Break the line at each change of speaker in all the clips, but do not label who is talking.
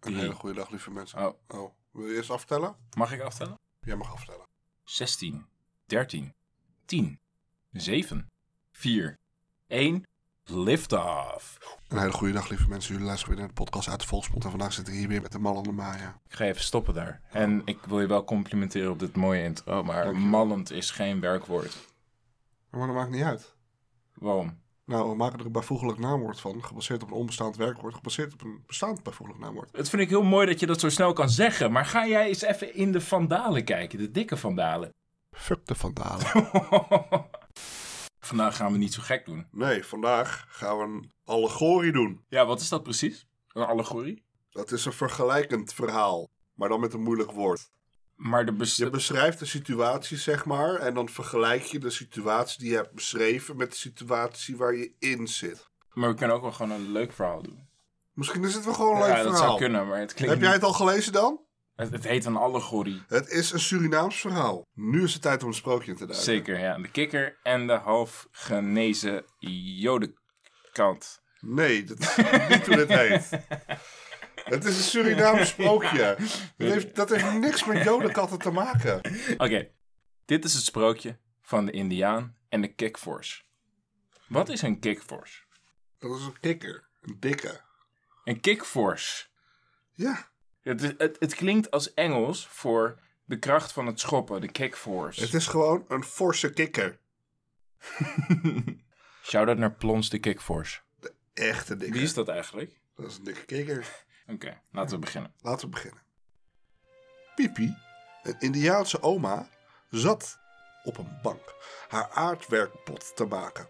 Een hele goede dag, lieve mensen.
Oh,
Oh, wil je eerst aftellen?
mag ik aftellen?
Jij mag aftellen.
16, 13, 10, 7, 4, 1, liftoff.
Een hele goede dag, lieve mensen. Jullie luisteren weer naar de podcast uit de Volksmond. En vandaag zitten we hier weer met de mallende Maya.
Ik ga even stoppen daar. En ik wil je wel complimenteren op dit mooie intro, maar mallend is geen werkwoord.
Maar dat maakt niet uit.
Waarom?
Nou, we maken er een bijvoeglijk naamwoord van, gebaseerd op een onbestaand werkwoord, gebaseerd op een bestaand bijvoeglijk naamwoord.
Het vind ik heel mooi dat je dat zo snel kan zeggen, maar ga jij eens even in de vandalen kijken, de dikke vandalen.
Fuck de vandalen.
Vandaag gaan we niet zo gek doen.
Nee, vandaag gaan we een allegorie doen.
Ja, wat is dat precies? Een allegorie?
Dat is een vergelijkend verhaal, maar dan met een moeilijk woord.
Maar de bes-
Je beschrijft de situatie, zeg maar, en dan vergelijk je de situatie die je hebt beschreven met de situatie waar je in zit.
maar we kunnen ook wel gewoon een leuk verhaal doen.
Misschien is het wel gewoon een leuk
ja, dat
verhaal.
zou kunnen, maar het klinkt
Heb jij het al gelezen dan?
Het, het heet een allegorie.
Het is een Surinaams verhaal. Nu is het tijd om een sprookje in te duiken.
Zeker, ja. De kikker en de half genezen jodenkant.
Nee, dat is niet hoe dit heet. Het is een Surinaams sprookje. Dat heeft, dat heeft niks met jodenkatten te maken.
Oké, dit is het sprookje van de indiaan en de kikvorsch. Wat is een kikvorsch?
Dat is een kikker. Een dikke.
Een kikvorsch.
Ja,
Het, is- het, het klinkt als Engels voor de kracht van het schoppen, de kikvorsch.
het is gewoon een forse kikker.
Shout-out naar Plons de kikvorsch.
Echte dikke.
Wie is dat eigenlijk?
Dat is een dikke kikker.
Oké, laten we beginnen.
Laten we beginnen. Pipi, een Indiaanse oma, zat op een bank haar aardwerkpot te maken.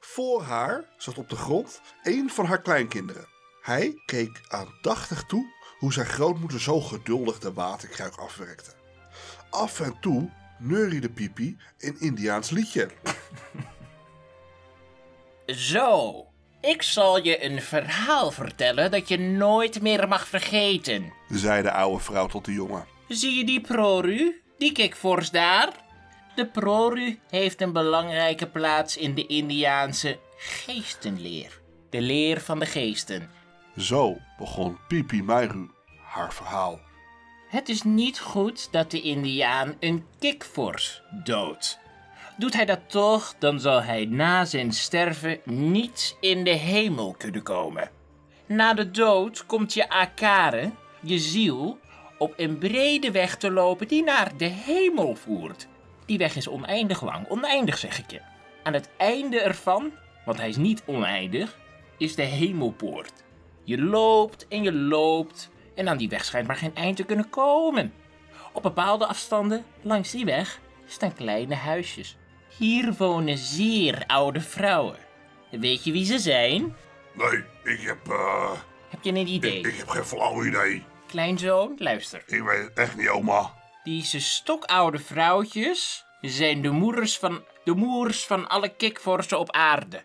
Voor haar zat op de grond een van haar kleinkinderen. Hij keek aandachtig toe hoe zijn grootmoeder zo geduldig de waterkruik afwerkte. Af en toe neuriede Pipi een Indiaans liedje.
Zo, ik zal je een verhaal vertellen dat je nooit meer mag vergeten.
zei de oude vrouw tot de jongen.
Zie je die proru? Die kikvorst daar? De proru heeft een belangrijke plaats in de Indiaanse geestenleer. De leer van de geesten.
Zo begon Pipi Mairu haar verhaal.
Het is niet goed dat de Indiaan een kikvors doodt. Doet hij dat toch, dan zal hij na zijn sterven niet in de hemel kunnen komen. Na de dood komt je akare, je ziel, op een brede weg te lopen die naar de hemel voert. Die weg is oneindig lang, oneindig zeg ik je. Aan het einde ervan, want hij is niet oneindig, is de hemelpoort. Je loopt en je loopt en aan die weg schijnt maar geen eind te kunnen komen. Op bepaalde afstanden langs die weg staan kleine huisjes. Hier wonen zeer oude vrouwen. Weet je wie ze zijn?
Nee, ik heb, eh,
Heb je een idee?
heb geen flauw idee.
Kleinzoon, luister.
Ik weet het echt niet, oma.
Deze stokoude vrouwtjes zijn de moeders van de moers van alle kikvorsen op aarde.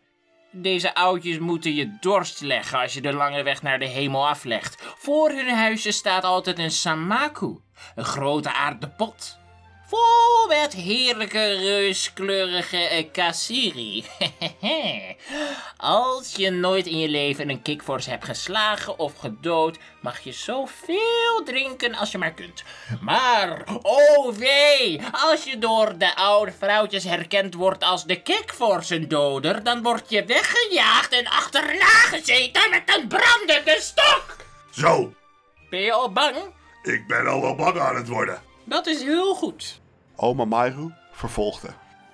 Deze oudjes moeten je dorst leggen als je de lange weg naar de hemel aflegt. Voor hun huisje staat altijd een samaku, een grote aarden pot. Vol met heerlijke reuskleurige eh, kassiri. Als je nooit in je leven een kikvors hebt geslagen of gedood, mag je zoveel drinken als je maar kunt. Maar, oh wee, als je door de oude vrouwtjes herkend wordt als de kikvorsendoder, dan word je weggejaagd en achterna gezeten met een brandende stok.
Zo,
Ben je al bang?
ik ben al wel bang aan het worden.
Dat is heel goed.
Oma Mairu vervolgde.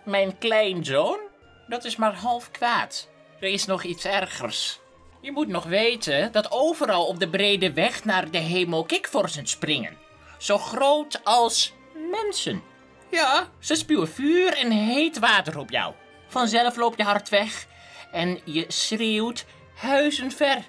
Mijn kleinzoon? Dat is maar half kwaad. Er is nog iets ergers. Je moet nog weten dat overal op de brede weg naar de hemel kikvorsen springen. Zo groot als mensen. Ja, ze spuwen vuur en heet water op jou. Vanzelf loop je hard weg en je schreeuwt huizen ver.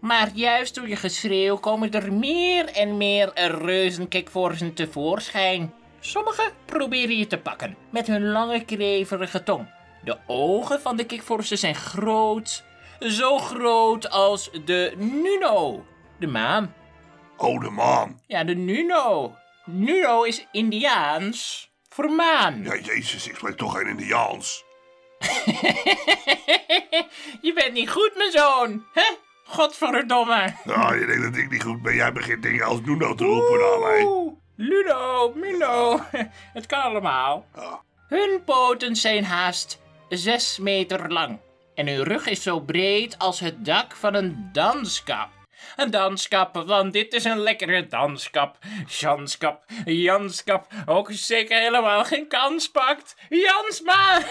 Maar juist door je geschreeuw komen er meer en meer reuzenkikvorsen tevoorschijn. Sommigen proberen je te pakken met hun lange kreverige tong. De ogen van de kikvorsen zijn groot, zo groot als de Nuno, de maan.
Oh, de maan.
Ja, de Nuno. Nuno is Indiaans voor maan.
Ja, jezus, ik ben toch geen Indiaans.
je bent niet goed, mijn zoon. hè? Godverdomme.
Nou, je denkt dat ik niet goed ben. Jij begint dingen als Nuno te roepen naar mij.
Oeh, Ludo, Milo, het kan allemaal.
Ja.
Hun poten zijn haast zes meter lang. En hun rug is zo breed als het dak van een danskap. Een danskap, want dit is een lekkere danskap. Janskap, Janskap, ook zeker helemaal geen kans pakt. Jansma!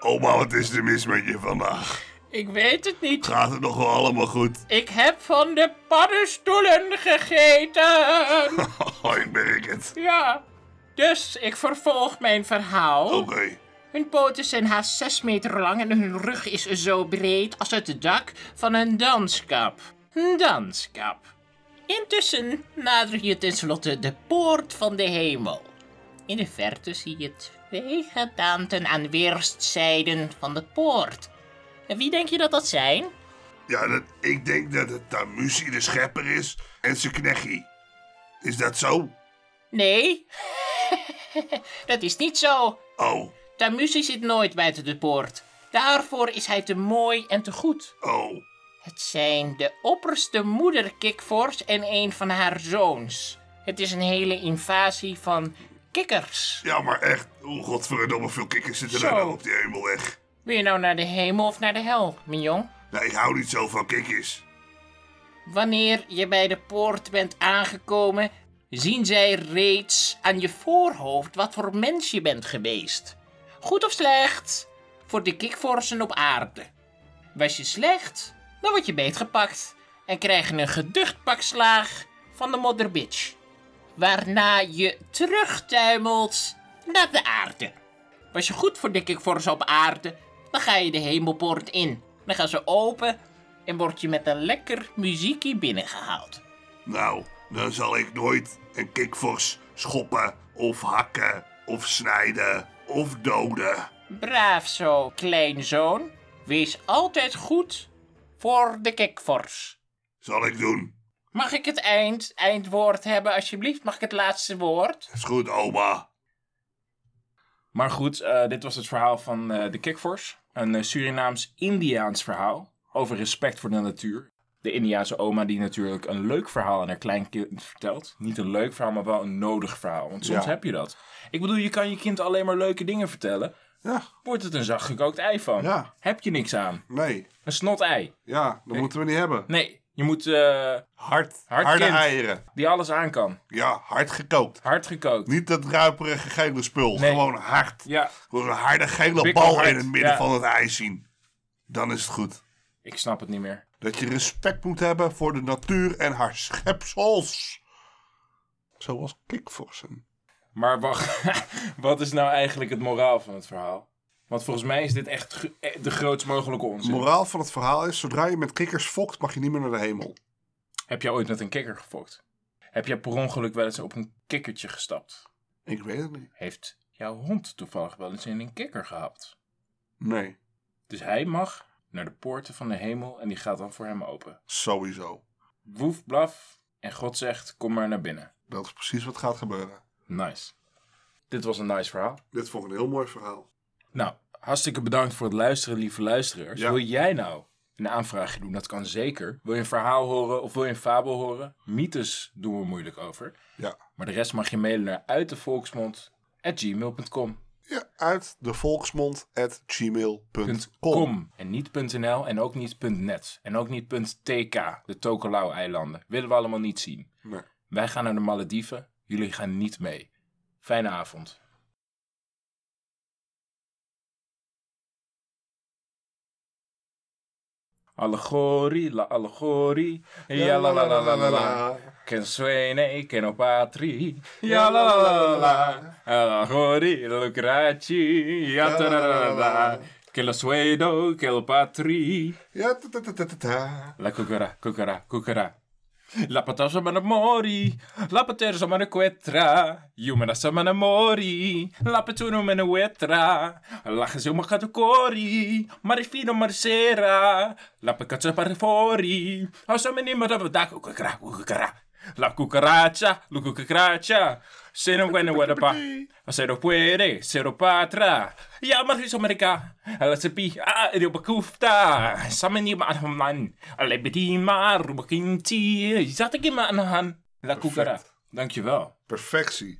Oma, wat is er mis met je vandaag?
Ik weet het niet.
Gaat het nog wel allemaal goed?
Ik heb van de paddenstoelen gegeten.
Oh, ik merk het.
Ja, dus ik vervolg mijn verhaal.
Oké.
Hun poten zijn haast 6 meter lang en hun rug is zo breed als het dak van een danskap. Een danskap. Intussen nader je tenslotte de poort van de hemel. In de verte zie je twee gedaanten aan weerszijden van de poort. En wie denk je dat dat zijn?
Ja, dat, ik denk dat het Tamusi de schepper is en zijn knechtje. Is dat zo?
Nee, dat is niet zo.
Oh,
Tamusi zit nooit buiten de poort. Daarvoor is hij te mooi en te goed.
oh.
Het zijn de opperste moeder Kikvors en een van haar zoons. Het is een hele invasie van kikkers.
Ja, maar echt. Oh, godverdomme, veel kikkers zitten
Zo.
daar nou op die hemelweg.
Wil je nou naar de hemel of naar de hel, mignon?
Nou, ik hou niet zo van kikkers.
Wanneer je bij de poort bent aangekomen, zien zij reeds aan je voorhoofd wat voor mens je bent geweest. Goed of slecht, voor de kikvorsen op aarde. Was je slecht, dan word je beetgepakt en krijg je een geducht pak slaag van de modder bitch. Waarna je terugtuimelt naar de aarde. Was je goed voor de kikvorsen op aarde, dan ga je de hemelpoort in. Dan gaan ze open en word je met een lekker muziekje binnengehaald.
Nou, dan zal ik nooit een kikvors schoppen of hakken of snijden of doden.
Braaf zo, kleinzoon. Wees altijd goed voor de kikvors.
Zal ik doen.
Mag ik het eind, eindwoord hebben, alsjeblieft? Mag ik het laatste woord?
Is goed, oma.
Maar goed, eh, dit was het verhaal van eh, de Kikvors. Een eh, Surinaams-Indiaans verhaal over respect voor de natuur. De Indiaanse oma die natuurlijk een leuk verhaal aan haar kleinkind vertelt. Niet een leuk verhaal, maar wel een nodig verhaal. Want soms
Ja.
heb je dat. Ik bedoel, je kan je kind alleen maar leuke dingen vertellen.
Ja,
Wordt het een zachtgekookt ei van.
Ja.
Heb je niks aan.
nee.
Een snot ei.
Ja, dat moeten we niet hebben.
Nee, je moet eh,
Hard.
Hard
harde
kind.
eieren.
die alles aan kan.
Ja, hard gekookt.
Hard gekookt.
Niet dat ruiperige gele spul.
Nee.
Gewoon hard.
Ja,
Gewoon een harde gele
Bikkelhard,
bal in het midden
ja.
van het ijs zien. Dan is het goed.
ik snap het niet meer.
Dat je respect moet hebben voor de natuur en haar schepsels. Zoals kikvorsen.
Maar wacht, wat is nou eigenlijk het moraal van het verhaal? Want volgens mij is dit echt ge- eh, de grootst mogelijke
Het
onzin.
moraal van het verhaal is, zodra je met kikkers fokt, mag je niet meer naar de hemel.
Heb jij ooit met een kikker gefokt? Heb jij per ongeluk wel eens op een kikkertje gestapt?
Ik weet het niet.
Heeft jouw hond toevallig wel eens in een kikker gehapt?
Nee,
Dus hij mag naar de poorten van de hemel en die gaat dan voor hem open.
sowieso.
Woef, blaf en God zegt, kom maar naar binnen.
Dat is precies wat gaat gebeuren.
Nice. Dit was een nice verhaal.
Dit vond ik een heel mooi verhaal.
Nou, hartstikke bedankt voor het luisteren, lieve luisteraars.
Ja.
Wil jij nou een aanvraagje doen? Dat kan zeker. Wil je een verhaal horen of wil je een fabel horen? Mythes doen we moeilijk over.
Ja.
Maar de rest mag je mailen naar uitdevolksmond.gmail.com
ja uit de volksmond at gmail.com.
.com en niet .nl en ook niet .net en ook niet .tk, de Tokelau-eilanden. Willen we allemaal niet zien.
Nee.
Wij gaan naar de Malediven, jullie gaan niet mee. Fijne avond. Allegorie, la allegorie, ja la la la la la la. Ken suene, ken opatri, ja la la la la la. Allegorie, la lucraci, ja ta la la la la. Che lo suedo, che lo patri.
Ja, ta, ta, ta, ta, ta, ta.
La cucara, cucara, cucara. La patasa me mori, la paterza me quetra, io me la sa me mori, la petuno me ne wetra, la gesio me gaat cori, marifino marisera, la peccaccia per fuori, a sa me nima da vada cucara, cucara. La cucaracha, la cucaracha. Se no bueno, bueno, pa. Se no puede, se no patra. Ja, maar is Amerika. La sepi, ah, de bekufta. Samen die maar man. Alle bedien maar, bekin ti. Zat ik in mijn hand. La cucara. Dankjewel.
Perfectie.